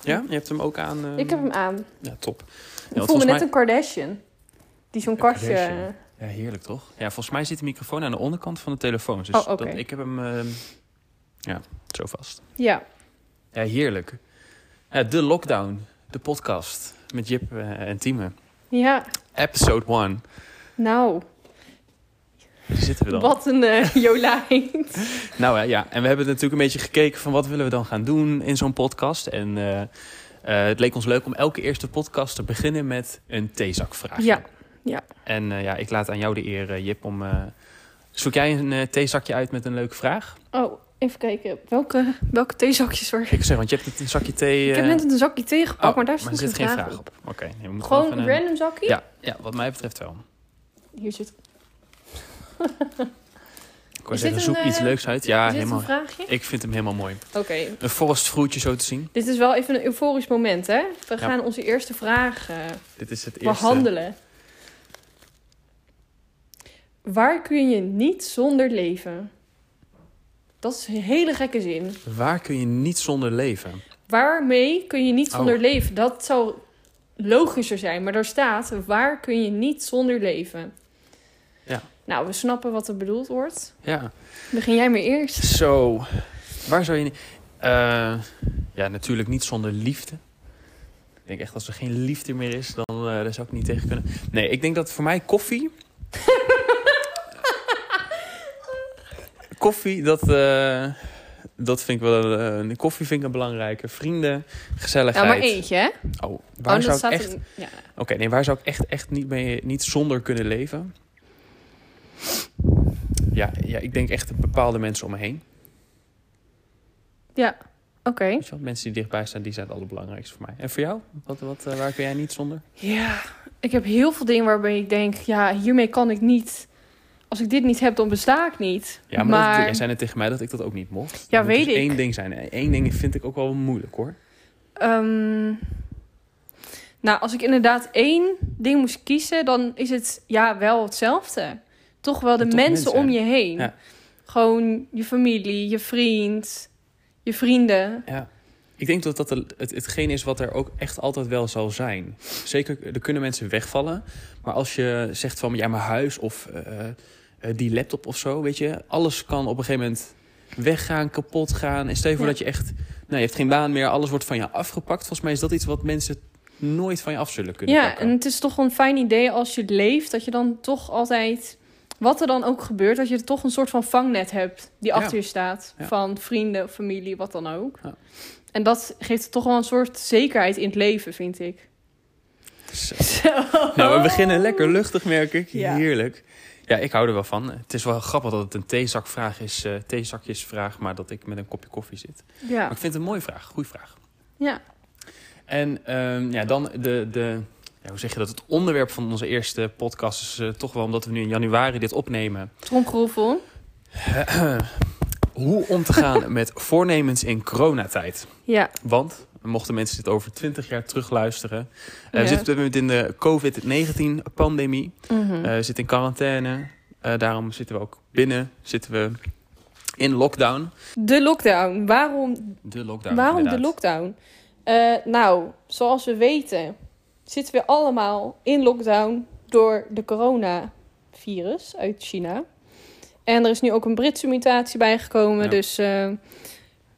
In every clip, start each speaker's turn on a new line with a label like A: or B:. A: Ja, je hebt hem ook aan. eh,
B: Ik heb hem aan. Ik
A: Ja, top.
B: voel
A: want
B: me
A: volgens
B: net
A: mij-
B: een Kardashian. Die zo'n kastje...
A: Kardashian. Ja, heerlijk toch? Ja, volgens mij zit de microfoon aan de onderkant van de telefoon. Dus
B: Oh, oké.
A: dat, ik heb hem eh, ja, zo vast.
B: Ja.
A: Ja, heerlijk. Ja, de Lockdown, de podcast met Jip eh, en Tieme.
B: Ja.
A: Episode 1.
B: Nou,
A: Daar zitten we dan.
B: wat een eh, Jolijn.
A: Nou hè, ja, en we hebben natuurlijk een beetje gekeken van wat willen we dan gaan doen in zo'n podcast. En eh, eh, het leek ons leuk om elke eerste podcast te beginnen met een theezakvraag.
B: Ja, ja.
A: En eh, ja, ik laat aan jou de eer, eh, Jip, om... eh, zoek jij een eh, theezakje uit met een leuke vraag?
B: Oh, even kijken. Welke, welke theezakjes er...
A: Ik zeg, want je hebt net een zakje thee...
B: Ik heb
A: eh,
B: net een zakje thee gepakt,
A: oh,
B: maar daar
A: er
B: stond
A: zit
B: geen vraag, op.
A: op. Oké, nee, we moeten
B: Gewoon
A: even
B: een
A: een-
B: random zakje?
A: Ja, Ah, ja, wat mij betreft wel.
B: Hier zit,
A: Ik wou
B: Is dit
A: zeggen, zoek
B: een,
A: iets
B: eh,
A: leuks uit. Ja,
B: is dit
A: helemaal.
B: een vraagje?
A: Ik vind hem helemaal mooi.
B: Oké.
A: Een forest fruitje zo te zien.
B: Dit is wel even een euforisch moment, hè? We
A: Ja.
B: gaan onze eerste vraag eh,
A: Dit is het eerste.
B: behandelen. Waar kun je niet zonder leven? Dat is een hele gekke zin.
A: Waar kun je niet zonder leven?
B: Waarmee kun je niet
A: Oh.
B: zonder leven? Dat zou logischer zijn, maar daar staat... waar kun je niet zonder leven?
A: Ja.
B: Nou, we snappen wat er bedoeld wordt.
A: Ja.
B: Begin jij maar eerst.
A: Zo, waar zou je... ni- Eh, ja, natuurlijk niet zonder liefde. Ik denk echt, als er geen liefde meer is, dan eh, daar zou ik niet tegen kunnen. Nee, ik denk dat voor mij koffie... koffie, dat, eh, dat vind ik wel... eh, koffie vind ik een belangrijke. Vrienden,
B: Nou,
A: gezelligheid.
B: maar eentje, hè?
A: Oh, waar
B: dat
A: zou ik
B: staat
A: echt...
B: in- ja.
A: Oké, nee, waar zou ik echt, echt niet, mee, niet zonder kunnen leven? Ja, ja, ik denk echt bepaalde mensen om me heen.
B: Oké.
A: Weet je wel, mensen die dichtbij staan, die zijn het allerbelangrijkste voor mij. En voor jou? Wat, wat, eh, waar kun jij niet zonder?
B: Ja, ik heb heel veel dingen waarbij ik denk... ja, hiermee kan ik niet... als ik dit niet heb, dan besta ik niet.
A: Ja, maar, Dat, jij zei net tegen mij dat ik dat ook niet mocht. Dat
B: Ja,
A: moet
B: weet
A: dus
B: ik.
A: één ding zijn. Eén ding vind ik ook wel moeilijk, hoor.
B: ehm, nou, als ik inderdaad één ding moest kiezen... dan is het ja, wel hetzelfde. Toch wel de
A: Toch
B: mensen,
A: mensen.
B: om je heen.
A: Ja.
B: Gewoon je familie, je vriend, je vrienden.
A: Ja. Ik denk dat dat het, het- hetgeen is wat er ook echt altijd wel zal zijn. Zeker, er kunnen mensen wegvallen. Maar als je zegt van, ja, mijn huis of eh, eh, die laptop of zo, weet je. Alles kan op een gegeven moment weggaan, kapot gaan. En stel je voor
B: Ja.
A: dat je echt, nou, je hebt geen baan meer. Alles wordt van je afgepakt. Volgens mij is dat iets wat mensen nooit van je af zullen kunnen
B: Ja,
A: pakken.
B: en het is toch wel een fijn idee als je leeft... dat je dan toch altijd... Wat er dan ook gebeurt, dat je toch een soort van vangnet hebt die
A: Ja.
B: achter je staat.
A: Ja.
B: Van vrienden, familie, wat dan ook.
A: Ja.
B: En dat geeft toch wel een soort zekerheid in het leven, vind ik.
A: Zo.
B: Zo.
A: Nou, we beginnen lekker luchtig, merk ik.
B: Ja.
A: Heerlijk. Ja, ik hou er wel van. Het is wel grappig dat het een theezakvraag is, eh, theezakjesvraag, maar dat ik met een kopje koffie zit.
B: Ja.
A: Maar ik vind het een mooie vraag, goede vraag.
B: Ja.
A: En ehm, ja, dan de, de ja, hoe zeg je dat? Het onderwerp van onze eerste podcast is eh, toch wel omdat we nu in januari dit opnemen.
B: Tromgeroffel.
A: Hoe om te gaan met voornemens in coronatijd.
B: Ja.
A: Want mochten mensen dit over 20 jaar terugluisteren, eh, we
B: Ja.
A: zitten op dit moment in de COVID-19 pandemie.
B: Mhm. Mm.
A: Eh, we zitten in quarantaine. Eh, daarom zitten we ook binnen. Zitten we in lockdown.
B: de lockdown. Waarom,
A: De lockdown.
B: waarom de
A: inderdaad.
B: lockdown? Eh, nou, zoals we weten zitten we allemaal in lockdown door de coronavirus uit China. En er is nu ook een Britse mutatie bijgekomen.
A: Ja.
B: Dus eh,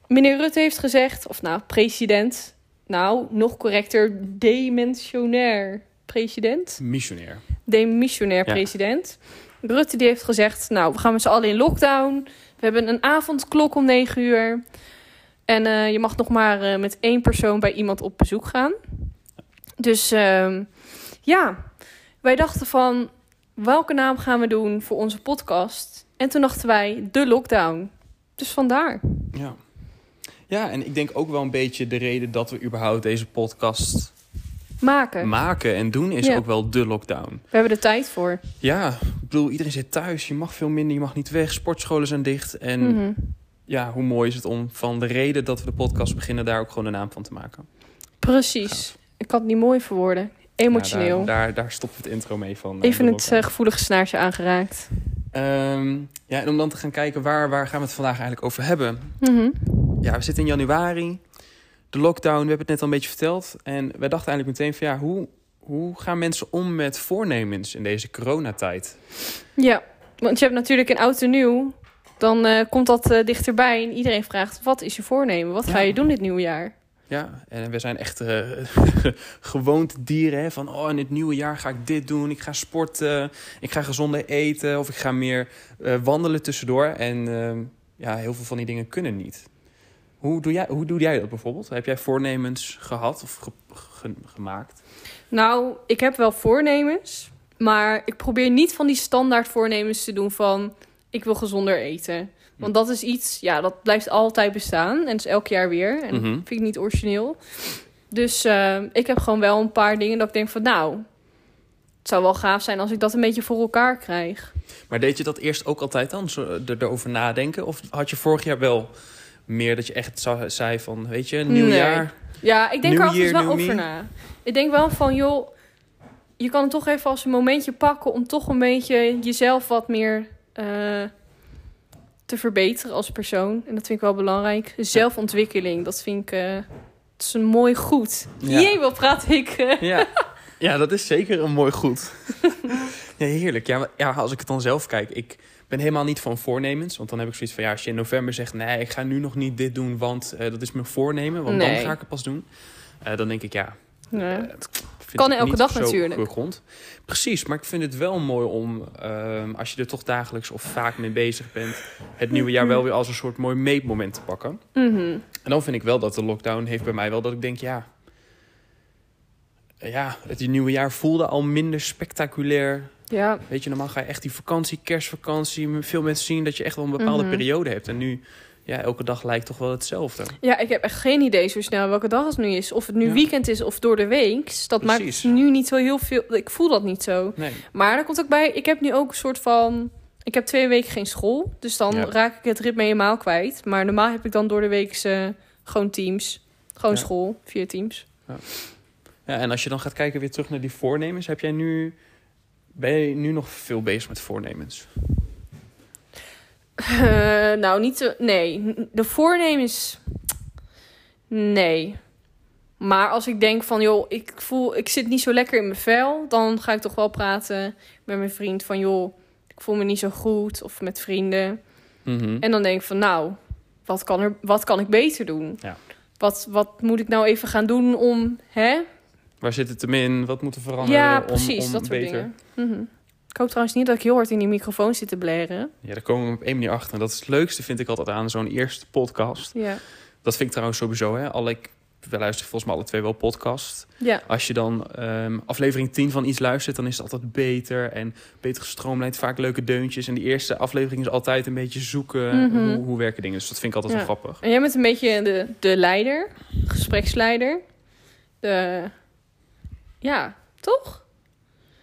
B: meneer Rutte heeft gezegd, of nou, president. Nou, nog correcter, dementionair president.
A: Missionair.
B: demissionair
A: Ja.
B: president. Rutte die heeft gezegd, nou, we gaan met z'n allen in lockdown. We hebben een avondklok om negen uur. En eh, je mag nog maar eh, met één persoon bij iemand op bezoek gaan. Dus ehm, ja, wij dachten van, welke naam gaan we doen voor onze podcast? En toen dachten wij, de lockdown. Dus vandaar.
A: Ja. Ja, en ik denk ook wel een beetje de reden dat we überhaupt deze podcast
B: Maken.
A: maken en doen is
B: Ja.
A: ook wel de lockdown.
B: we hebben er tijd voor.
A: Ja, ik bedoel, iedereen zit thuis, je mag veel minder, je mag niet weg, sportscholen zijn dicht. En
B: Mhm.
A: ja, hoe mooi is het om van de reden dat we de podcast beginnen daar ook gewoon een naam van te maken.
B: Precies. Ik had het niet mooi verwoorden. Emotioneel.
A: Ja, daar, daar, daar stopt het intro mee van. eh,
B: Even
A: de
B: het
A: lockdown.
B: eh, gevoelige snaartje aangeraakt.
A: Ehm, ja, en om dan te gaan kijken waar, waar gaan we het vandaag eigenlijk over hebben.
B: Mhm.
A: Ja, we zitten in januari. de lockdown, we hebben het net al een beetje verteld. En wij dachten eigenlijk meteen van ja, hoe, hoe gaan mensen om met voornemens in deze coronatijd?
B: Ja, want je hebt natuurlijk in oud en nieuw. Dan eh, komt dat eh, dichterbij en iedereen vraagt: wat is je voornemen? Wat ga
A: Ja.
B: je doen dit nieuwe jaar?
A: Ja, en we zijn echt eh gewoonte dieren. Hè? Van, oh, in het nieuwe jaar ga ik dit doen. Ik ga sporten. Ik ga gezonder eten. Of ik ga meer eh, wandelen tussendoor. En eh, ja, heel veel van die dingen kunnen niet. Hoe doe, jij, hoe doe jij dat bijvoorbeeld? Heb jij voornemens gehad of ge- ge- gemaakt?
B: Nou, ik heb wel voornemens, maar ik probeer niet van die standaard voornemens te doen van ik wil gezonder eten. Want dat is iets, ja, dat blijft altijd bestaan en dat is elk jaar weer. En
A: Mhm.
B: vind ik niet origineel. Dus eh, ik heb gewoon wel een paar dingen dat ik denk van nou, het zou wel gaaf zijn als ik dat een beetje voor elkaar krijg.
A: Maar deed je dat eerst ook altijd dan? Zo, eh, er, erover nadenken? Of had je vorig jaar wel meer dat je echt zou- zei van, weet je, nieuw
B: Nee.
A: jaar?
B: Ja, ik denk
A: New
B: er altijd
A: year,
B: wel
A: new
B: over
A: me.
B: na. Ik denk wel van joh, je kan het toch even als een momentje pakken om toch een beetje jezelf wat meer eh, te verbeteren als persoon. En dat vind ik wel belangrijk. Zelfontwikkeling, dat vind ik. eh het is een mooi goed.
A: Ja.
B: Jee, wat praat ik? eh.
A: Ja. ja, dat is zeker een mooi goed. ja, heerlijk. Ja, maar- ja, als ik het dan zelf kijk, ik ben helemaal niet van voornemens. Want dan heb ik zoiets van, ja, als je in november zegt... nee, ik ga nu nog niet dit doen, want eh, dat is mijn voornemen. Want dan
B: Nee.
A: ga ik het pas doen. Eh, dan denk ik, ja,
B: Ja.
A: vind
B: Kan
A: ik
B: elke
A: niet
B: dag
A: zo
B: natuurlijk.
A: gegrond. Precies, maar ik vind het wel mooi om, ehm, als je er toch dagelijks of vaak mee bezig bent, het nieuwe jaar wel weer als een soort mooi meetmoment te pakken.
B: Mhm.
A: En dan vind ik wel dat de lockdown heeft bij mij wel dat ik denk, ja, eh, ja, het nieuwe jaar voelde al minder spectaculair.
B: ja.
A: Weet je, normaal ga je echt die vakantie, kerstvakantie, veel mensen zien dat je echt wel een bepaalde
B: Mhm.
A: periode hebt. En nu, ja, elke dag lijkt toch wel hetzelfde.
B: Ja, ik heb echt geen idee zo snel welke dag het nu is. Of het nu
A: Ja.
B: weekend is of door de week. Dus Dat
A: Precies.
B: maakt nu niet zo heel veel. Ik voel dat niet zo.
A: Nee.
B: Maar er komt ook bij, ik heb nu ook een soort van. Ik heb twee weken geen school. Dus dan
A: Ja.
B: raak ik het ritme helemaal kwijt. Maar normaal heb ik dan door de week eh, gewoon teams. Gewoon
A: Ja.
B: school, vier teams.
A: Ja, en als je dan gaat kijken weer terug naar die voornemens, heb jij nu, ben je nu nog veel bezig met voornemens?
B: Eh, nou, niet te, Nee, de voornemens. Nee. Maar als ik denk van, joh, ik voel, ik zit niet zo lekker in mijn vel, dan ga ik toch wel praten met mijn vriend van, joh, ik voel me niet zo goed, of met vrienden.
A: Mhm.
B: En dan denk ik van, nou, wat kan, er, wat kan ik beter doen?
A: Ja.
B: Wat, wat moet ik nou even gaan doen om, hè?
A: Waar zit het hem in? Wat moet er veranderen?
B: Ja,
A: om-
B: precies,
A: om
B: dat soort
A: beter...
B: dingen. Mhm. Ik hoop trouwens niet dat ik heel hard in die microfoon zit te blaren.
A: Ja, daar komen we op één manier achter. En dat is het leukste, vind ik altijd aan zo'n eerste podcast.
B: Ja.
A: Dat vind ik trouwens sowieso, hè. Al ik, we luisteren volgens mij alle twee wel podcast.
B: Ja.
A: Als je dan ehm, aflevering 10 van iets luistert, dan is het altijd beter. En beter gestroomlijnd, vaak leuke deuntjes. En die eerste aflevering is altijd een beetje zoeken.
B: Mhm.
A: Hoe, hoe werken dingen? Dus dat vind ik altijd
B: Ja.
A: wel grappig.
B: En jij bent een beetje de, de leider, gespreksleider. De, ja, toch?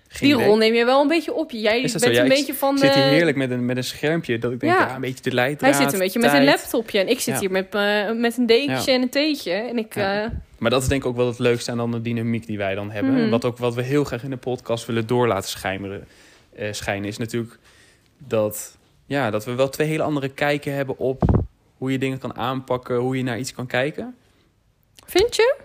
A: Geen
B: die
A: idee.
B: rol neem je wel een beetje op. Jij
A: Is dat
B: bent
A: zo? Ja,
B: een
A: ik
B: beetje van...
A: Ik zit hier
B: eh,
A: heerlijk met een, met een schermpje. Dat ik denk,
B: Ja.
A: ja, een beetje de leidraad.
B: hij zit een beetje met een
A: tijd.
B: laptopje en ik zit
A: Ja.
B: hier met, eh, met een dekentje en een theetje. En ik,
A: Ja.
B: eh,
A: Maar dat is denk ik ook wel het leukste aan dan de dynamiek die wij dan hebben.
B: Mhm.
A: En wat, ook, wat we heel graag in de podcast willen door laten schijmeren, eh, schijnen... is natuurlijk dat, ja, dat we wel twee hele andere kijken hebben op... hoe je dingen kan aanpakken, hoe je naar iets kan kijken.
B: vind je?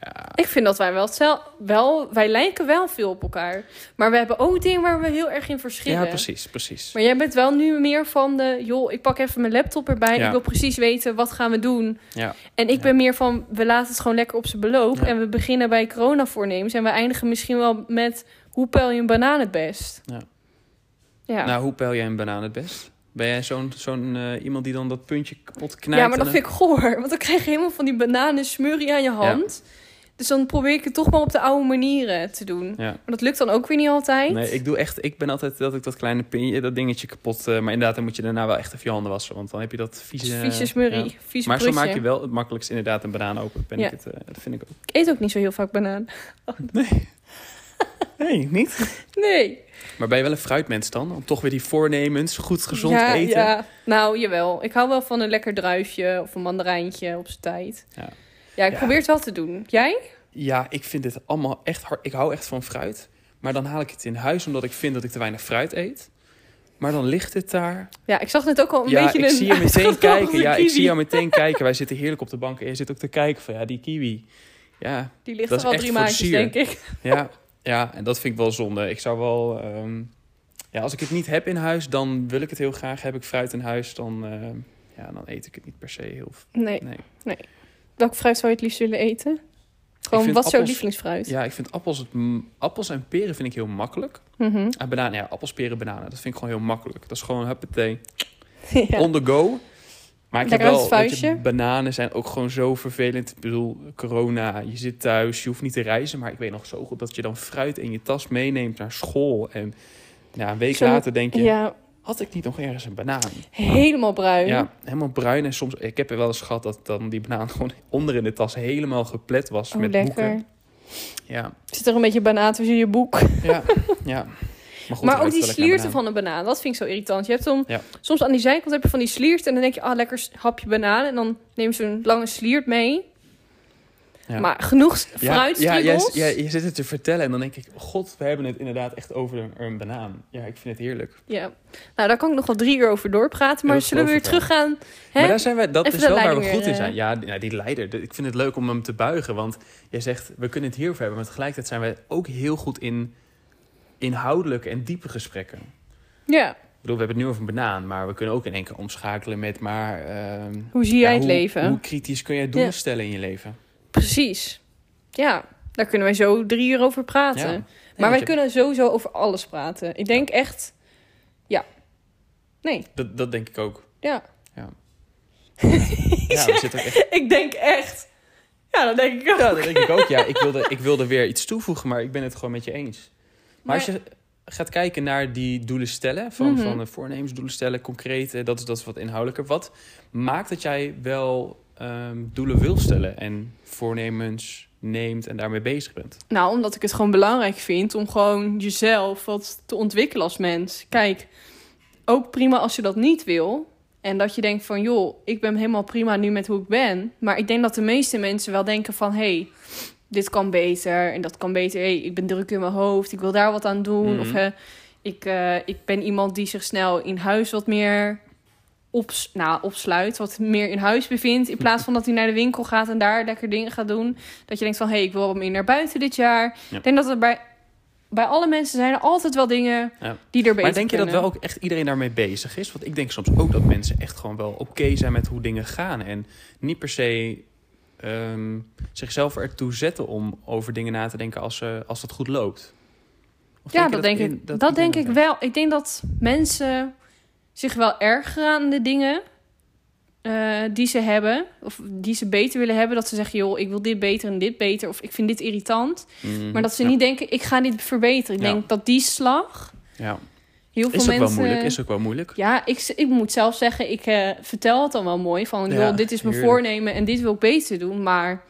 A: Ja,
B: Ik vind dat wij wel, hetzel- wel, wij lijken wel veel op elkaar. Maar we hebben ook dingen waar we heel erg in verschillen.
A: ja precies, precies.
B: Maar jij bent wel nu meer van de, joh, ik pak even mijn laptop erbij.
A: Ja.
B: Ik wil precies weten, wat gaan we doen?
A: Ja.
B: En ik
A: Ja.
B: ben meer van, we laten het gewoon lekker op zijn beloop.
A: Ja.
B: En we beginnen bij coronavoornemens. En we eindigen misschien wel met, hoe pel je een banaan het best?
A: Ja.
B: Ja,
A: Nou, hoe peil jij een banaan het best? Ben jij zo'n zo'n eh, iemand die dan dat puntje kapot knijpt?
B: ja maar dat
A: en
B: vind ik goor. Want dan krijg je helemaal van die bananen smurrie aan je hand. Dus dan probeer ik het toch maar op de oude manieren te doen.
A: dan- Ja.
B: Maar dat lukt dan ook weer niet altijd.
A: Nee, ik doe echt. Ik ben altijd dat ik dat kleine pinje, dat dingetje kapot. eh, maar inderdaad, dan moet je daarna wel echt even je handen wassen. Want dan heb je dat vieze.
B: Vieze smurrie,
A: ja.
B: vieze
A: Maar zo
B: prutje.
A: maak je wel het makkelijkst inderdaad een banaan open. Ben
B: Ja.
A: ik het, eh, dat vind ik ook.
B: Ik eet ook niet zo heel vaak banaan.
A: Nee, niet.
B: Nee.
A: Maar ben je wel een fruitmens dan? Om toch weer die voornemens, goed gezond eten.
B: Ja. Nou, jawel. Ik hou wel van een lekker druifje of een mandarijntje op zijn tijd.
A: Ja.
B: Ja, ik
A: Ja.
B: probeer het wel te doen. Jij?
A: Ja, ik vind dit allemaal echt hard. Ik hou echt van fruit. Maar dan haal ik het in huis omdat ik vind dat ik te weinig fruit eet. Maar dan ligt het daar.
B: Ja, ik zag net ook al een
A: ja,
B: beetje
A: ik
B: een
A: zie je meteen
B: uitgekomen
A: kijken. Ja, ik
B: kiwi.
A: zie jou meteen kijken. Wij zitten heerlijk op de bank. En je zit ook te kijken van, ja, die kiwi. Ja,
B: Die ligt
A: Dat is
B: er al
A: echt
B: drie
A: voor de
B: maandjes,
A: sier.
B: denk ik.
A: ja, ja. En dat vind ik wel zonde. Ik zou wel... ehm, ja, als ik het niet heb in huis, dan wil ik het heel graag. Heb ik fruit in huis, dan, ehm, ja, dan eet ik het niet per se heel... v-
B: Nee,
A: Nee.
B: welk fruit zou je het liefst willen eten?
A: Ik
B: Gewoon,
A: vind
B: wat is jouw
A: appels-
B: lievelingsfruit?
A: Ja, ik vind appels, het, m- appels en peren vind ik heel makkelijk.
B: Mhm.
A: Ah, bananen, ja, appels, peren, bananen. Dat vind ik gewoon heel makkelijk. Dat is gewoon huppatee.
B: Ja.
A: On the go. Maar ik
B: Lekker
A: heb
B: uit
A: wel,
B: het
A: weet je,
B: vuistje.
A: bananen zijn ook gewoon zo vervelend. Ik bedoel, corona, je zit thuis, je hoeft niet te reizen. Maar ik weet nog zo goed dat je dan fruit in je tas meeneemt naar school. En ja, een week
B: Zo'n-
A: later denk je,
B: ja,
A: had ik niet nog ergens een banaan?
B: helemaal bruin.
A: Ja, helemaal bruin. En soms, ik heb er wel eens gehad dat dan die banaan gewoon onder in de tas helemaal geplet was
B: Oh,
A: met
B: lekker.
A: boeken. Ja,
B: Zit er een beetje banaan tussen je boek.
A: ja, ja. Maar, goed,
B: maar ook
A: ruikt
B: die
A: wel lekker naar
B: slierten
A: banaan.
B: van een banaan, dat vind ik zo irritant. Je hebt dan,
A: Ja.
B: Soms aan die zijkant heb je van die slierten en dan denk je, ah, lekker s- hapje banaan. En dan neem ze een lange sliert mee.
A: Ja.
B: Maar genoeg s-
A: Ja,
B: fruitstriegels.
A: Ja, jij- ja, je zit het te vertellen en dan denk ik... God, we hebben het inderdaad echt over een, een banaan. Ja, ik vind het heerlijk.
B: Ja. Nou, daar kan ik nog wel drie uur over doorpraten. Maar
A: Ja, dat
B: zullen we weer
A: geloof ik
B: teruggaan? Hè?
A: Maar daar zijn we, dat
B: Even
A: is
B: de
A: wel waar we
B: leiding
A: goed in
B: weer,
A: zijn.
B: eh.
A: Ja, die- nou, die leider. de- Ik vind het leuk om hem te buigen. Want jij zegt, we kunnen het hierover hebben. Maar tegelijkertijd zijn we ook heel goed in inhoudelijke en diepe gesprekken.
B: Ja.
A: Ik bedoel, we hebben het nu over een banaan. Maar we kunnen ook in één keer omschakelen met... Maar, ehm,
B: Hoe zie
A: ja,
B: jij het
A: hoe-
B: leven?
A: Hoe kritisch kun jij doelen
B: Ja.
A: stellen in je leven?
B: Precies. Ja, daar kunnen wij zo drie uur over praten.
A: Ja.
B: maar wij
A: want je-
B: kunnen sowieso over alles praten. Ik denk echt... Ja. Nee,
A: Dat, dat denk ik ook.
B: ja.
A: Ja, we zitten ook echt
B: Ik denk echt... Ja, dat denk ik ook.
A: Ja, dat denk ik ook. Ja, ik wilde, ik wilde weer iets toevoegen, maar ik ben het gewoon met je eens. Maar,
B: Maar-
A: als je gaat kijken naar die doelen stellen, van,
B: Mhm.
A: van eh, voornemens, doelen stellen, concreet, eh, dat is, dat is wat inhoudelijker. Wat maakt dat jij wel ehm, doelen wil stellen en voornemens neemt en daarmee bezig bent?
B: Nou, omdat ik het gewoon belangrijk vind om gewoon jezelf wat te ontwikkelen als mens. Kijk, ook prima als je dat niet wil. En dat je denkt van, joh, ik ben helemaal prima nu met hoe ik ben. Maar ik denk dat de meeste mensen wel denken van, hé, hey, dit kan beter. En dat kan beter. hey, ik ben druk in mijn hoofd. Ik wil daar wat aan doen.
A: Mhm.
B: Of eh, ik, eh, ik ben iemand die zich snel in huis wat meer ops nou, opsluit. Wat meer in huis bevindt. In plaats van dat hij naar de winkel gaat en daar lekker dingen gaat doen. Dat je denkt van, hé, hey, ik wil wat meer naar buiten dit jaar.
A: Ja.
B: Ik denk dat er bij, bij alle mensen zijn er altijd wel dingen
A: Ja.
B: die er beter
A: Maar denk je dat
B: kunnen.
A: wel ook echt iedereen daarmee bezig is? Want ik denk soms ook dat mensen echt gewoon wel oké zijn met hoe dingen gaan. En niet per se ehm, zichzelf ertoe zetten om over dingen na te denken als, ze als dat goed loopt. Of
B: Ja,
A: je
B: dat denk,
A: in-
B: ik, dat denk ik
A: iedereen-
B: wel. Ik denk dat mensen zich wel ergeren aan de dingen eh, die ze hebben. Of die ze beter willen hebben. Dat ze zeggen, joh, ik wil dit beter en dit beter. Of ik vind dit irritant.
A: Mhm.
B: Maar dat ze
A: Ja.
B: niet denken, ik ga dit verbeteren. Ik
A: Ja.
B: denk dat die slag
A: Ja.
B: heel veel
A: Is ook
B: mensen...
A: wel moeilijk. Is ook wel moeilijk.
B: Ja, ik, z- ik moet zelf zeggen, ik eh, vertel het dan wel mooi. Van, joh,
A: Ja,
B: dit is mijn
A: heerlijk.
B: voornemen en dit wil ik beter doen. Maar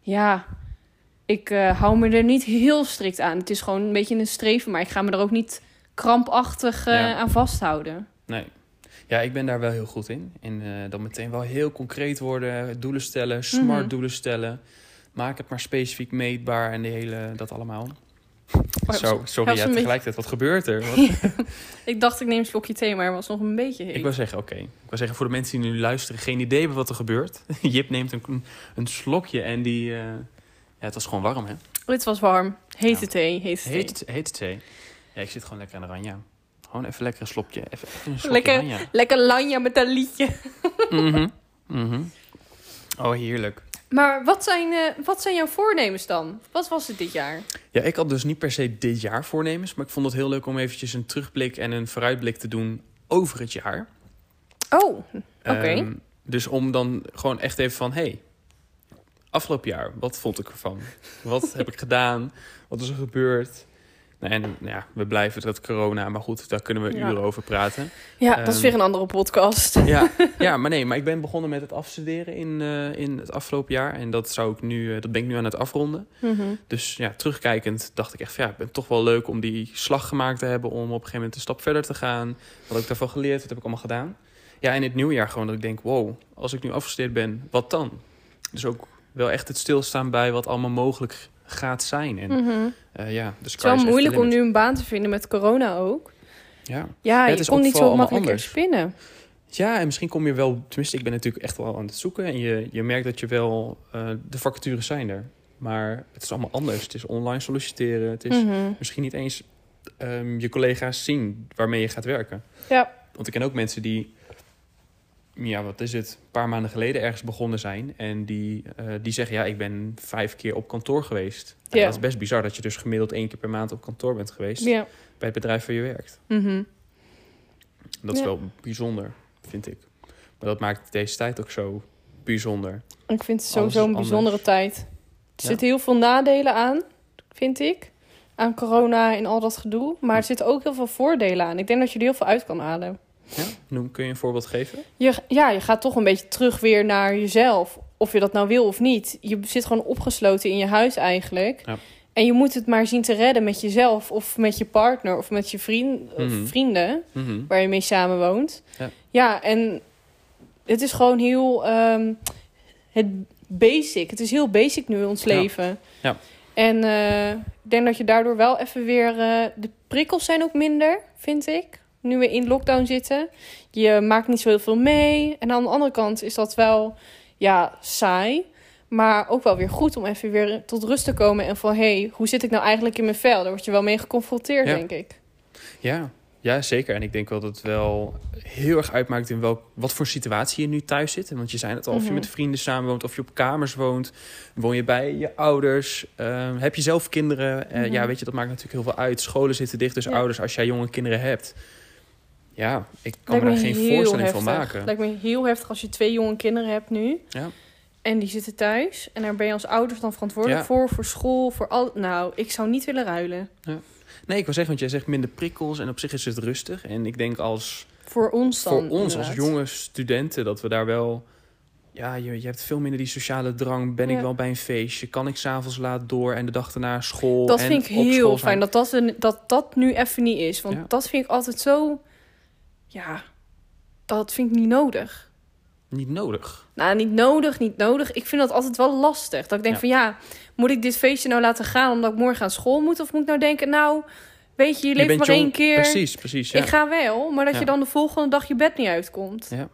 B: ja, ik eh, hou me er niet heel strikt aan. Het is gewoon een beetje een streven, maar ik ga me er ook niet krampachtig eh,
A: Ja.
B: aan vasthouden.
A: Nee. Ja, ik ben daar wel heel goed in. En eh, dan meteen wel heel concreet worden, doelen stellen, smart
B: Mhm.
A: doelen stellen. Maak het maar specifiek meetbaar en de hele, dat allemaal.
B: Oh,
A: Zo, sorry,
B: helpt
A: ja,
B: een beetje.
A: tegelijkertijd, wat gebeurt er? Wat-
B: Ik dacht, ik neem een slokje thee, maar het was nog een beetje heet.
A: Ik wil zeggen, oké. Ik wil zeggen, voor de mensen die nu luisteren, geen idee hebben wat er gebeurt. Jip neemt een, een slokje en die... eh, Ja, het was gewoon warm, hè?
B: Oh, het was warm. Hete
A: Ja.
B: thee, hete thee.
A: Heet, heet thee. Ja, ik zit gewoon lekker aan de ranja. Gewoon even lekker een slokje. Even, even een slokje
B: Lekker.
A: ranja.
B: Lekker lanja met dat liedje.
A: Mhm, mhm. Oh, heerlijk.
B: Maar wat zijn, eh, wat zijn jouw voornemens dan? Wat was het dit jaar?
A: Ja, ik had dus niet per se dit jaar voornemens. Maar ik vond het heel leuk om eventjes een terugblik en een vooruitblik te doen over het jaar.
B: Oh, Oké.
A: Ehm, dus om dan gewoon echt even van, hey, afgelopen jaar, wat vond ik ervan? Wat heb ik gedaan? Wat is er gebeurd? Nou, en nou ja, we blijven dat corona, maar goed, daar kunnen we
B: Ja.
A: uren over praten.
B: ja, dat is
A: Ehm.
B: weer een andere podcast.
A: Ja, ja, maar nee, maar ik ben begonnen met het afstuderen in, eh, in het afgelopen jaar. En dat, zou ik nu, eh, dat ben ik nu aan het afronden.
B: Mhm.
A: Dus ja, terugkijkend dacht ik echt van ja, ik ben toch wel leuk om die slag gemaakt te hebben. Om op een gegeven moment een stap verder te gaan. Wat heb ik daarvan geleerd? Wat heb ik allemaal gedaan? Ja, en het nieuwjaar gewoon dat ik denk, wow, als ik nu afgestudeerd ben, wat dan? Dus ook wel echt het stilstaan bij wat allemaal mogelijk gaat zijn. En
B: Mhm.
A: eh, ja, de
B: Het is wel moeilijk om
A: nu
B: nu een baan te vinden met corona ook.
A: Ja.
B: Ja,
A: het
B: je
A: is
B: kon
A: ook
B: niet zo
A: vooral
B: makkelijk
A: allemaal
B: spinnen.
A: ja, en misschien kom je wel... Tenminste, ik ben natuurlijk echt wel aan het zoeken. En je, je merkt dat je wel... eh, de vacatures zijn er. Maar het is allemaal anders. Het is online solliciteren. Het is
B: Mhm.
A: misschien niet eens ehm, je collega's zien waarmee je gaat werken.
B: Ja.
A: Want ik ken ook mensen die... Ja, wat is het? Een paar maanden geleden ergens begonnen zijn. En die, eh, die zeggen, ja, ik ben vijf keer op kantoor geweest. Nou,
B: Ja.
A: Dat is best bizar dat je dus gemiddeld één keer per maand op kantoor bent geweest.
B: Ja.
A: Bij het bedrijf waar je werkt.
B: Mhm.
A: Dat is
B: Ja.
A: wel bijzonder, vind ik. Maar dat maakt deze tijd ook zo bijzonder.
B: Ik vind
A: Alles
B: het sowieso
A: is
B: een bijzondere tijd. Er
A: Ja.
B: zitten heel veel nadelen aan, vind ik. Aan corona en al dat gedoe. Maar er zitten ook heel veel voordelen aan. Ik denk dat je er heel veel uit kan halen.
A: Ja? Noem, kun je een voorbeeld geven?
B: Je, ja, je gaat toch een beetje terug weer naar jezelf. Of je dat nou wil of niet. Je zit gewoon opgesloten in je huis eigenlijk.
A: Ja.
B: En je moet het maar zien te redden met jezelf. Of met je partner. Of met je vriend, of
A: Mhm.
B: vrienden.
A: Mhm.
B: Waar je mee samen woont.
A: Ja.
B: en het is gewoon heel... ehm, het basic. Het is heel basic nu in ons
A: Ja.
B: leven.
A: Ja.
B: En eh, ik denk dat je daardoor wel even weer... eh, de prikkels zijn ook minder, vind ik. Nu we in lockdown zitten. Je maakt niet zo heel veel mee. En aan de andere kant is dat wel ja, saai. Maar ook wel weer goed om even weer tot rust te komen. En van, hé, hey, hoe zit ik nou eigenlijk in mijn vel? Daar word je wel mee geconfronteerd,
A: Ja.
B: denk ik.
A: Ja. ja, zeker. En ik denk wel dat het wel heel erg uitmaakt in welk, wat voor situatie je nu thuis zit. Want je zei het al, of je
B: Mhm.
A: met vrienden samen woont, of je op kamers woont. Woon je bij je ouders? Ehm, heb je zelf kinderen? Eh,
B: Mhm.
A: Ja, weet je, dat maakt natuurlijk heel veel uit. Scholen zitten dicht, dus
B: Ja.
A: ouders, als jij jonge kinderen hebt... Ja, ik kan
B: Lijkt
A: me
B: me
A: daar geen
B: heel
A: voorstelling van
B: heftig.
A: maken.
B: Lijkt me heel heftig als je twee jonge kinderen hebt nu.
A: Ja.
B: En die zitten thuis. En daar ben je als ouders dan verantwoordelijk
A: Ja.
B: voor. Voor school, voor al... Nou, ik zou niet willen ruilen.
A: Nee, ik wil zeggen, want jij zegt minder prikkels en op zich is het rustig. En ik denk als
B: Voor ons dan.
A: voor ons als
B: inderdaad.
A: jonge studenten dat we daar wel. Ja, je, je hebt veel minder die sociale drang. Ben ik
B: Ja.
A: wel bij een feestje? Kan ik s'avonds laat door en de dag daarna school?
B: Dat
A: en
B: vind ik
A: op school
B: heel
A: zijn?
B: fijn. Dat dat, een- dat dat nu even niet is. Want
A: Ja.
B: dat vind ik altijd zo... Ja, dat vind ik niet nodig.
A: Niet nodig.
B: Nou, niet nodig, niet nodig. Ik vind dat altijd wel lastig. Dat ik denk
A: Ja.
B: van ja, moet ik dit feestje nou laten gaan omdat ik morgen aan school moet? Of moet ik nou denken, nou, weet je, je leeft
A: bent
B: maar
A: jong-
B: één keer.
A: Precies, precies. Ja.
B: Ik ga wel, maar dat
A: Ja.
B: je dan de volgende dag je bed niet uitkomt.
A: Ja.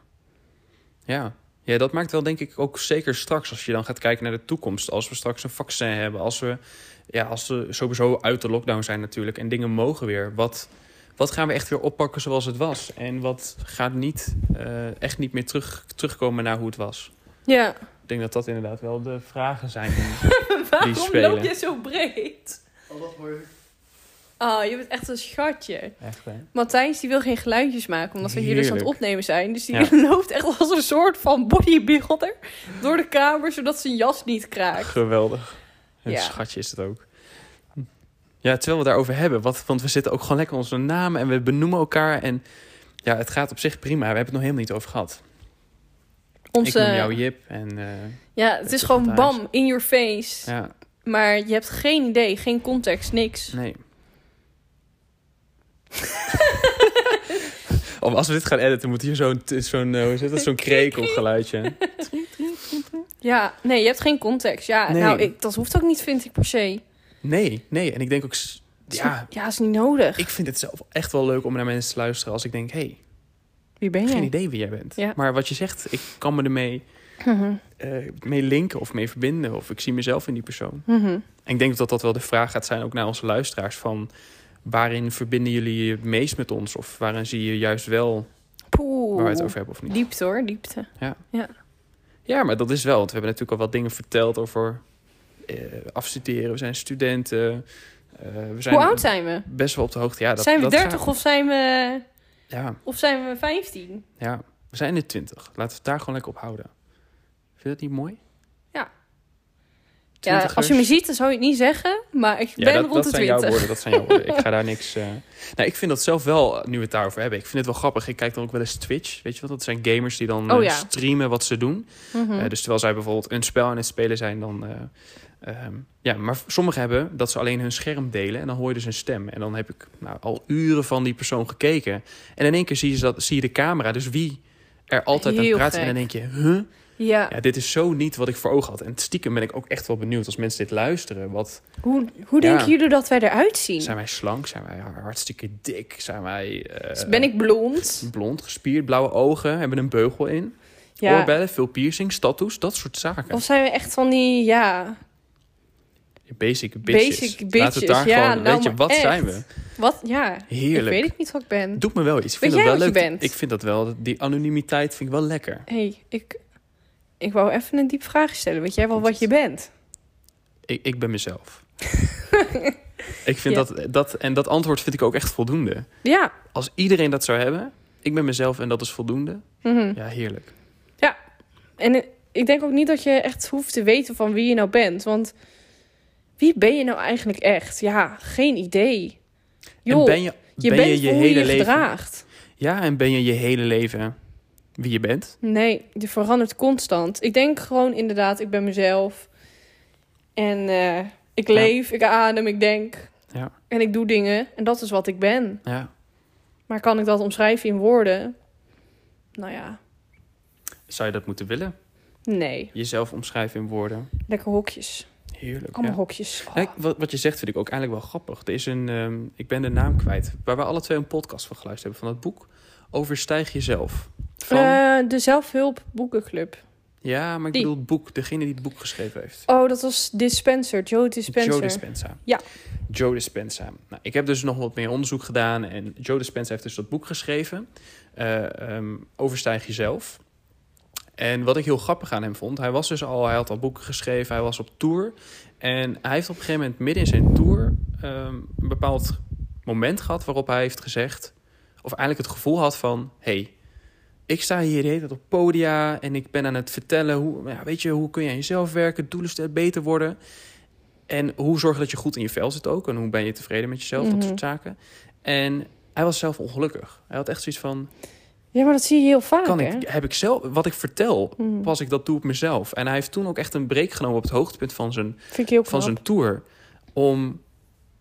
A: ja. ja, dat maakt wel denk ik ook zeker straks als je dan gaat kijken naar de toekomst. Als we straks een vaccin hebben. Als we, ja, als we sowieso uit de lockdown zijn natuurlijk en dingen mogen weer. Wat, wat gaan we echt weer oppakken zoals het was? En wat gaat niet, eh, echt niet meer terug, terugkomen naar hoe het was?
B: Ja.
A: Ik denk dat dat inderdaad wel de vragen zijn.
B: Waarom
A: spelen.
B: loop je zo breed? Oh, je bent echt een schatje.
A: Echt, eh, hè?
B: Matthijs die wil geen geluidjes maken, omdat we hier dus aan het
A: Heerlijk.
B: opnemen zijn. Dus die
A: Ja.
B: loopt echt als een soort van bodybuilder door de kamer, zodat zijn jas niet kraakt.
A: Geweldig. Een
B: Ja.
A: schatje is het ook. Ja, terwijl we het daarover hebben. Wat, want we zitten ook gewoon lekker onze namen en we benoemen elkaar. En ja, het gaat op zich prima. We hebben het nog helemaal niet over gehad.
B: Onze,
A: Ik noem jou Jip. En eh,
B: ja, het is
A: is
B: gewoon
A: Matthijs.
B: bam, in your face.
A: ja,
B: Maar je hebt geen idee, geen context, niks.
A: nee. Om, als we dit gaan editen, moet hier zo'n, t- zo'n, eh, hoe is het, dat? zo'n krekelgeluidje.
B: Ja, nee, je hebt geen context. Ja,
A: Nee.
B: nou, ik, dat hoeft ook niet, vind ik per se.
A: Nee, nee. En ik denk ook... s-
B: Is
A: Ja,
B: niet- ja, is niet nodig.
A: ik vind het zelf echt wel leuk om naar mensen te luisteren als ik denk... hey,
B: Wie ben
A: Geen
B: jij?
A: idee wie jij bent.
B: Ja.
A: Maar wat je zegt, ik kan me ermee
B: Mhm,
A: eh, mee linken of mee verbinden. Of ik zie mezelf in die persoon.
B: mhm.
A: En ik denk dat dat wel de vraag gaat zijn, ook naar onze luisteraars. Van waarin verbinden jullie je het meest met ons? Of waarin zie je juist wel
B: Poeh.
A: waar we het over hebben of niet?
B: Diepte hoor, diepte.
A: Ja, maar dat is wel. Want we hebben natuurlijk al wat dingen verteld over eh, afstuderen. We zijn studenten. eh, we zijn
B: Hoe oud zijn we?
A: Best wel op de hoogte. Ja, dat,
B: zijn we
A: dat
B: 30
A: gaat-
B: of, zijn we,
A: Ja,
B: of zijn we 15?
A: ja, we zijn in de 20. Laten we het daar gewoon lekker op houden. Vind je dat niet mooi?
B: Ja. Ja,
A: Twintigers?
B: als je me ziet, dan zou je het niet zeggen. Maar ik ben
A: dat,
B: rond de
A: dat zijn jouw
B: 20.
A: woorden, dat zijn jouw woorden. Ik ga daar niks... eh, Nou, ik vind dat zelf wel, eh, nu we het daarover hebben... ik vind het wel grappig. Ik kijk dan ook wel eens Twitch. Weet je wat? Dat zijn gamers die dan
B: Oh,
A: eh,
B: ja.
A: streamen wat ze doen.
B: Mhm.
A: Eh, dus terwijl zij bijvoorbeeld een spel aan het spelen zijn... dan eh, ehm, ja, maar sommigen hebben dat ze alleen hun scherm delen... en dan hoor je dus hun stem. En dan heb ik nou, al uren van die persoon gekeken. En in één keer zie je, dat, zie je de camera. Dus wie er altijd aan
B: Heel
A: het praten is. En
B: gek.
A: dan denk je, huh?
B: Ja,
A: Ja, dit is zo niet wat ik voor ogen had. En stiekem ben ik ook echt wel benieuwd als mensen dit luisteren. Wat
B: hoe, hoe
A: Ja.
B: denken jullie dat wij eruit zien?
A: zijn wij slank? Zijn wij hartstikke dik? Zijn wij eh,
B: Dus ben ik blond?
A: blond, gespierd, blauwe ogen, hebben een beugel in?
B: Ja.
A: Oorbellen, veel piercings, tattoos, dat soort zaken.
B: Of zijn we echt van die, ja,
A: Basic bitches.
B: Basic
A: Laten we
B: bitches,
A: daar
B: ja,
A: gewoon,
B: nou,
A: weet je,
B: maar
A: wat
B: echt.
A: zijn we?
B: wat, ja.
A: Heerlijk.
B: Ik weet ik niet wat ik ben.
A: Doet me wel iets. Ik vind
B: Weet
A: dat
B: jij
A: wel
B: wat
A: leuk.
B: je bent?
A: Ik vind dat wel, die anonimiteit vind ik wel lekker.
B: hey, ik, ik wou even een diep vraag stellen. Weet jij wel wat je bent?
A: Ik, ik ben mezelf. ik vind
B: Ja.
A: dat, dat, en dat antwoord vind ik ook echt voldoende.
B: Ja.
A: Als iedereen dat zou hebben, ik ben mezelf en dat is voldoende.
B: Mhm.
A: Ja, heerlijk.
B: En eh, ik denk ook niet dat je echt hoeft te weten van wie je nou bent. Want wie ben je nou eigenlijk echt? Ja, geen idee. Joh,
A: en ben je
B: je
A: ben
B: bent
A: je, je
B: hoe
A: hele
B: je je
A: leven.
B: gedraagt.
A: Ja, en ben je je hele leven wie je bent?
B: Nee, je verandert constant. Ik denk gewoon inderdaad, ik ben mezelf. En eh, ik
A: Ja.
B: leef, ik adem, ik denk.
A: Ja.
B: En ik doe dingen. En dat is wat ik ben.
A: Ja.
B: Maar kan ik dat omschrijven in woorden? Nou ja,
A: Zou je dat moeten willen?
B: nee.
A: Jezelf omschrijven in woorden.
B: Lekker hokjes.
A: Heerlijk.
B: Allemaal
A: Ja.
B: hokjes. Oh.
A: Kijk, wat, wat je zegt vind ik ook eigenlijk wel grappig. Er is een, ehm, ik ben de naam kwijt, waar we alle twee een podcast van geluisterd hebben van dat boek. Overstijg jezelf. Van,
B: Eh, de Zelfhulp Boekenclub.
A: ja, maar ik
B: die.
A: bedoel het boek, degene die het boek geschreven heeft.
B: Oh, dat was Dispenser, Joe Dispenser.
A: Joe Dispenza.
B: Ja.
A: Joe Dispenza. Nou, ik heb dus nog wat meer onderzoek gedaan. En Joe Dispenza heeft dus dat boek geschreven. eh, ehm, Overstijg jezelf. En wat ik heel grappig aan hem vond, hij was dus al, hij had al boeken geschreven, hij was op tour. En hij heeft op een gegeven moment midden in zijn tour ehm, een bepaald moment gehad waarop hij heeft gezegd, of eigenlijk het gevoel had van, hey, ik sta hier de hele tijd op podia en ik ben aan het vertellen, hoe, ja, weet je, hoe kun je aan jezelf werken, doelen stellen, beter worden. En hoe zorg je dat je goed in je vel zit ook? En hoe ben je tevreden met jezelf? Dat
B: Mhm.
A: soort zaken. En hij was zelf ongelukkig. Hij had echt zoiets van:
B: Ja, maar dat zie je heel vaak,
A: kan
B: hè?
A: ik, heb ik zelf wat ik vertel,
B: Mhm.
A: pas ik dat toe op mezelf? En hij heeft toen ook echt een break genomen op het hoogtepunt van zijn,
B: Vind ik heel knap.
A: van zijn tour. Om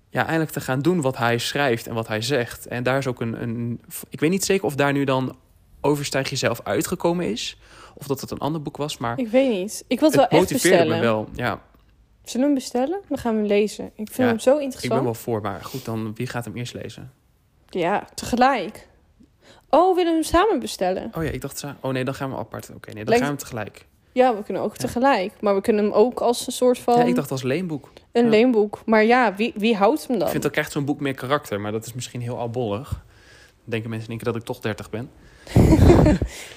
A: ja, eindelijk te gaan doen wat hij schrijft en wat hij zegt. En daar is ook een, een. Ik weet niet zeker of daar nu dan Overstijg jezelf uitgekomen is. Of dat het een ander boek was. Maar
B: Ik weet niet. Ik wil het,
A: het
B: wel echt
A: motiveerde me
B: bestellen.
A: wel. Ja,
B: Zullen we hem bestellen? Dan gaan we hem lezen. Ik vind
A: Ja,
B: hem zo
A: ik ben
B: interessant.
A: wel voor. Maar goed, dan wie gaat hem eerst lezen?
B: Ja, tegelijk. Oh, willen we hem samen bestellen?
A: Oh ja, ik dacht, sa- oh nee, dan gaan we apart. Oké, nee, dan
B: Lijkt-
A: gaan we tegelijk.
B: Ja, we kunnen ook
A: Ja.
B: tegelijk. Maar we kunnen hem ook als een soort van
A: Ja, ik dacht als leenboek.
B: een
A: ja.
B: leenboek. Maar ja, wie, wie houdt hem dan?
A: Ik vind dat krijgt zo'n boek meer karakter, maar dat is misschien heel albollig. Dan Denken mensen denken dat ik toch 30 ben.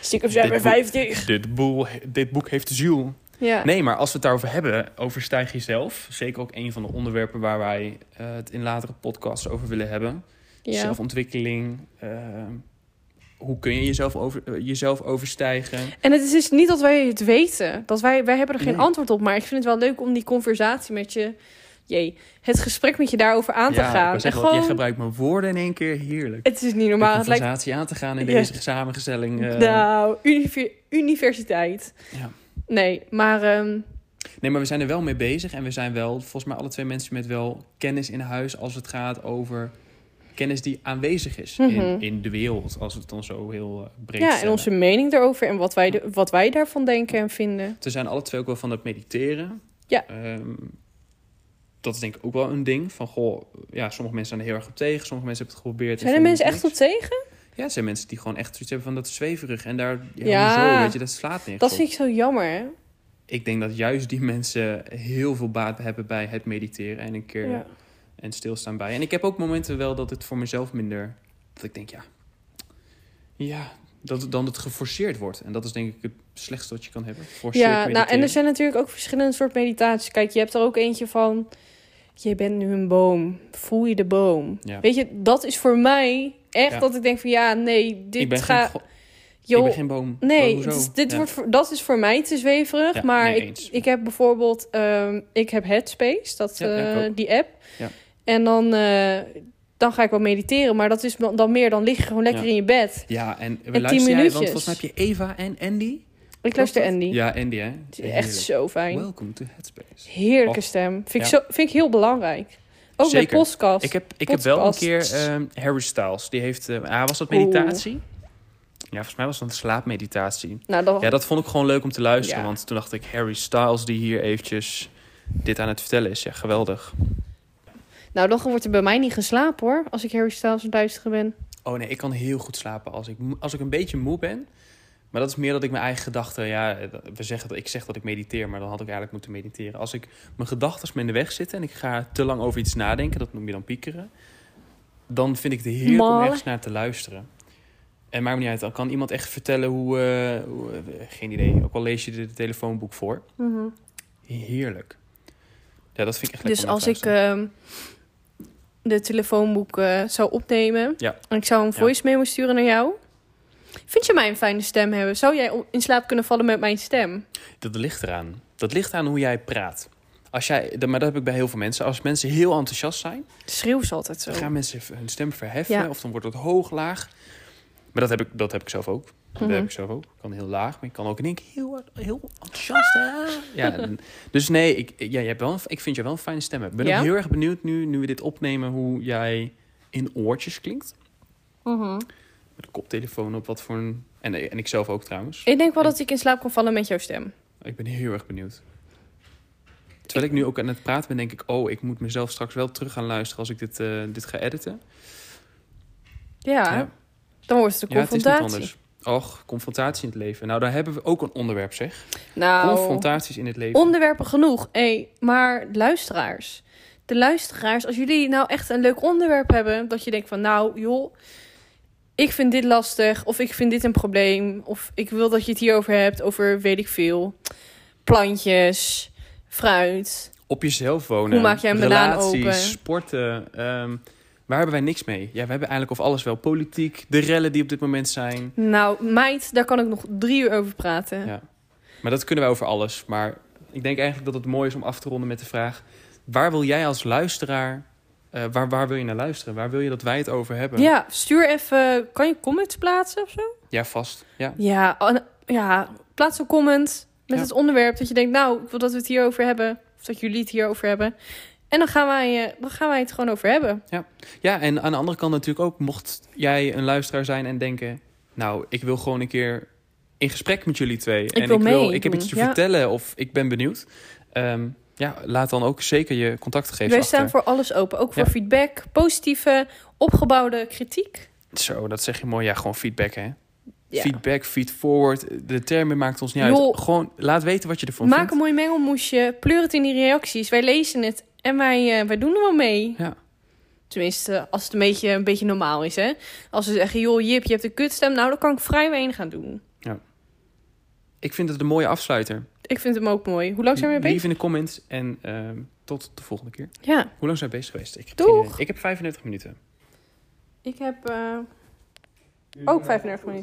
B: Stiekem zijn we
A: dit boek-
B: 50.
A: Dit, boel, dit boek heeft ziel.
B: Ja.
A: Nee, maar als we het daarover hebben, overstijg jezelf. Zeker ook een van de onderwerpen waar wij eh, het in latere podcasts over willen hebben.
B: ja.
A: Zelfontwikkeling. eh, hoe kun je jezelf, over, eh, jezelf overstijgen?
B: En het is dus niet dat wij het weten. Dat wij, wij hebben er geen
A: Nee.
B: antwoord op. Maar ik vind het wel leuk om die conversatie met je... Jee, het gesprek met je daarover aan te
A: ja, ik
B: gaan.
A: wou
B: En
A: zeggen, want
B: gewoon,
A: jij gebruikt mijn woorden in één keer. Heerlijk.
B: Het is niet normaal.
A: de
B: Het lijkt
A: conversatie aan te gaan in
B: Ja.
A: deze samenstelling. eh,
B: Nou, univer- universiteit.
A: Ja.
B: Nee, maar ehm,
A: Nee, maar we zijn er wel mee bezig. En we zijn wel, volgens mij, alle twee mensen met wel kennis in huis. als het gaat over kennis die aanwezig is
B: Mhm.
A: in, in de wereld. Als we het dan zo heel eh, breed
B: ja, en
A: stellen.
B: onze mening daarover en wat wij, de- wat wij daarvan denken en vinden.
A: We zijn alle twee ook wel van het mediteren.
B: Ja.
A: Ehm, dat is denk ik ook wel een ding. Van goh, ja, sommige mensen zijn er heel erg op tegen. Sommige mensen hebben het geprobeerd. en
B: Zijn er
A: vinden
B: mensen
A: het
B: echt op tegen?
A: niks. Ja, er zijn mensen die gewoon echt zoiets hebben van dat is zweverig. En daar, ja,
B: Ja.
A: hoezo, weet je, dat slaat niks
B: Dat
A: op.
B: vind ik zo jammer. hè?
A: Ik denk dat juist die mensen heel veel baat hebben bij het mediteren. En een keer
B: Ja.
A: en stilstaan bij. En ik heb ook momenten wel dat het voor mezelf minder. Dat ik denk, ja. Ja, dat het dan het geforceerd wordt. En dat is denk ik het slechtste wat je kan hebben. Forceerd
B: Ja, nou, en er
A: mediteren.
B: zijn natuurlijk ook verschillende soorten meditaties. Kijk, je hebt er ook eentje van... Je bent nu een boom. Voel je de boom?
A: Ja.
B: Weet je, dat is voor mij echt
A: Ja.
B: dat ik denk van... Ja, nee,
A: ik
B: dit
A: ben,
B: gaat...
A: geen, go- ik
B: joh,
A: ben geen boom.
B: Nee,
A: Hoezo?
B: het is- dit
A: Ja.
B: wordt, voor- dat is voor mij te zweverig.
A: Ja,
B: maar
A: nee,
B: ik,
A: eens.
B: ik heb bijvoorbeeld... ehm, ik heb Headspace, dat,
A: Ja, ja, ik
B: eh,
A: ook.
B: die app.
A: Ja.
B: En dan, eh, dan ga ik wel mediteren. Maar dat is dan dan meer, dan lig je gewoon lekker
A: Ja.
B: in je bed.
A: Ja, en we
B: tien
A: luisteren jij, want
B: minuutjes.
A: volgens mij heb je Eva en Andy.
B: Ik luister Andy.
A: Ja, Andy, hè?
B: Het is echt zo fijn.
A: Welcome to Headspace.
B: Heerlijke
A: Och,
B: stem. Vind, ik
A: ja.
B: zo, vind ik heel belangrijk. Ook bij
A: Zeker.
B: podcast.
A: Ik heb, ik heb wel een
B: podcast.
A: keer ehm, Harry Styles. Die heeft, eh, hij was dat ah, meditatie. Ja, volgens mij was het een slaapmeditatie.
B: Nou, dat,
A: Ja, dat vond ik gewoon leuk om te luisteren.
B: Ja.
A: Want toen dacht ik, Harry Styles die hier eventjes dit aan het vertellen is. Ja, geweldig.
B: nou, dan wordt er bij mij niet geslapen hoor. Als ik Harry Styles aan het luisteren ben.
A: Oh nee, ik kan heel goed slapen als ik, moe- als ik een beetje moe ben. Maar dat is meer dat ik mijn eigen gedachten... Ja, we zeggen, dat ik zeg dat ik mediteer, maar dan had ik eigenlijk moeten mediteren. Als ik mijn gedachten me in de weg zitten en ik ga te lang over iets nadenken... dat noem je dan piekeren. Dan vind ik het heerlijk om
B: Malen.
A: ergens naar te luisteren. En maakt me niet uit, dan kan iemand echt vertellen hoe... eh, hoe eh, geen idee, ook al lees je er de telefoonboek voor. Heerlijk. Ja, dat vind ik echt lekker
B: Mhm. Dus
A: om naar
B: als
A: te
B: ik
A: luisteren.
B: ehm, de telefoonboek eh, zou opnemen
A: Ja.
B: en ik zou een
A: Ja.
B: voice memo sturen naar jou. Vind je mij een fijne stem hebben? Zou jij o- in slaap kunnen vallen met mijn stem?
A: Dat ligt eraan. Dat ligt aan hoe jij praat. Als jij, dat- maar dat heb ik bij heel veel mensen. Als mensen heel enthousiast zijn,
B: Schreeuw ze altijd zo.
A: dan gaan mensen v- hun stem verheffen.
B: Ja.
A: Of dan wordt het hoog, laag. Maar dat heb ik, dat heb ik zelf ook. Dat
B: Mhm.
A: heb ik zelf ook. Ik kan heel laag, maar ik kan ook in één keer heel, heel enthousiast. hè? Ja, en- dus nee, ik, ja, je hebt wel een, ik vind je wel een fijne stem. hebben. Ik ben
B: Ja?
A: ook heel erg benieuwd nu, nu we dit opnemen, hoe jij in oortjes klinkt.
B: Mhm.
A: Met een koptelefoon op, wat voor een... En, en ik zelf ook trouwens.
B: Ik denk wel dat ik in slaap kan vallen met jouw stem.
A: Ik ben heel erg benieuwd. Terwijl ik nu ook aan het praten ben, denk ik... oh, ik moet mezelf straks wel terug gaan luisteren als ik dit, eh, dit ga editen.
B: Ja,
A: ja.
B: dan wordt het een
A: Ja, het is niet
B: Ah, confrontatie.
A: anders. Och, confrontatie in het leven. Nou, daar hebben we ook een onderwerp, zeg.
B: Nou,
A: Confrontaties in het leven.
B: onderwerpen genoeg. Hé, maar luisteraars. De luisteraars, als jullie nou echt een leuk onderwerp hebben, dat je denkt van nou joh, ik vind dit lastig of ik vind dit een probleem of ik wil dat je het hierover hebt over weet ik veel. Plantjes, fruit.
A: Op jezelf wonen.
B: Hoe maak jij een banaan
A: Relaties,
B: open?
A: sporten. ehm, waar hebben wij niks mee? Ja, we hebben eigenlijk of alles wel. Politiek, de rellen die op dit moment zijn.
B: Nou meid, daar kan ik nog drie uur over praten.
A: Ja. Maar dat kunnen wij over alles. Maar ik denk eigenlijk dat het mooi is om af te ronden met de vraag... waar wil jij als luisteraar... eh, waar, waar wil je naar luisteren? Waar wil je dat wij het over hebben?
B: Ja, stuur even, kan je comments plaatsen of zo?
A: Ja, vast. Ja.
B: Ja, an- ja plaats een comment met
A: Ja.
B: het onderwerp dat je denkt, nou, ik wil dat we het hierover hebben. Of dat jullie het hierover hebben. En dan gaan wij, eh, dan gaan wij het gewoon over hebben.
A: ja, en aan de andere kant natuurlijk ook... mocht jij een luisteraar zijn en denken... nou, ik wil gewoon een keer in gesprek met jullie twee. en
B: wil
A: ik, wil, ik heb
B: meedoen,
A: iets te
B: ja.
A: vertellen of ik ben benieuwd. Ehm, ja, laat dan ook zeker je contactgegevens
B: Wij
A: achter.
B: staan voor alles open. Ook voor
A: Ja.
B: eh, Nou, Oh,
A: ehm,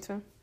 B: eh,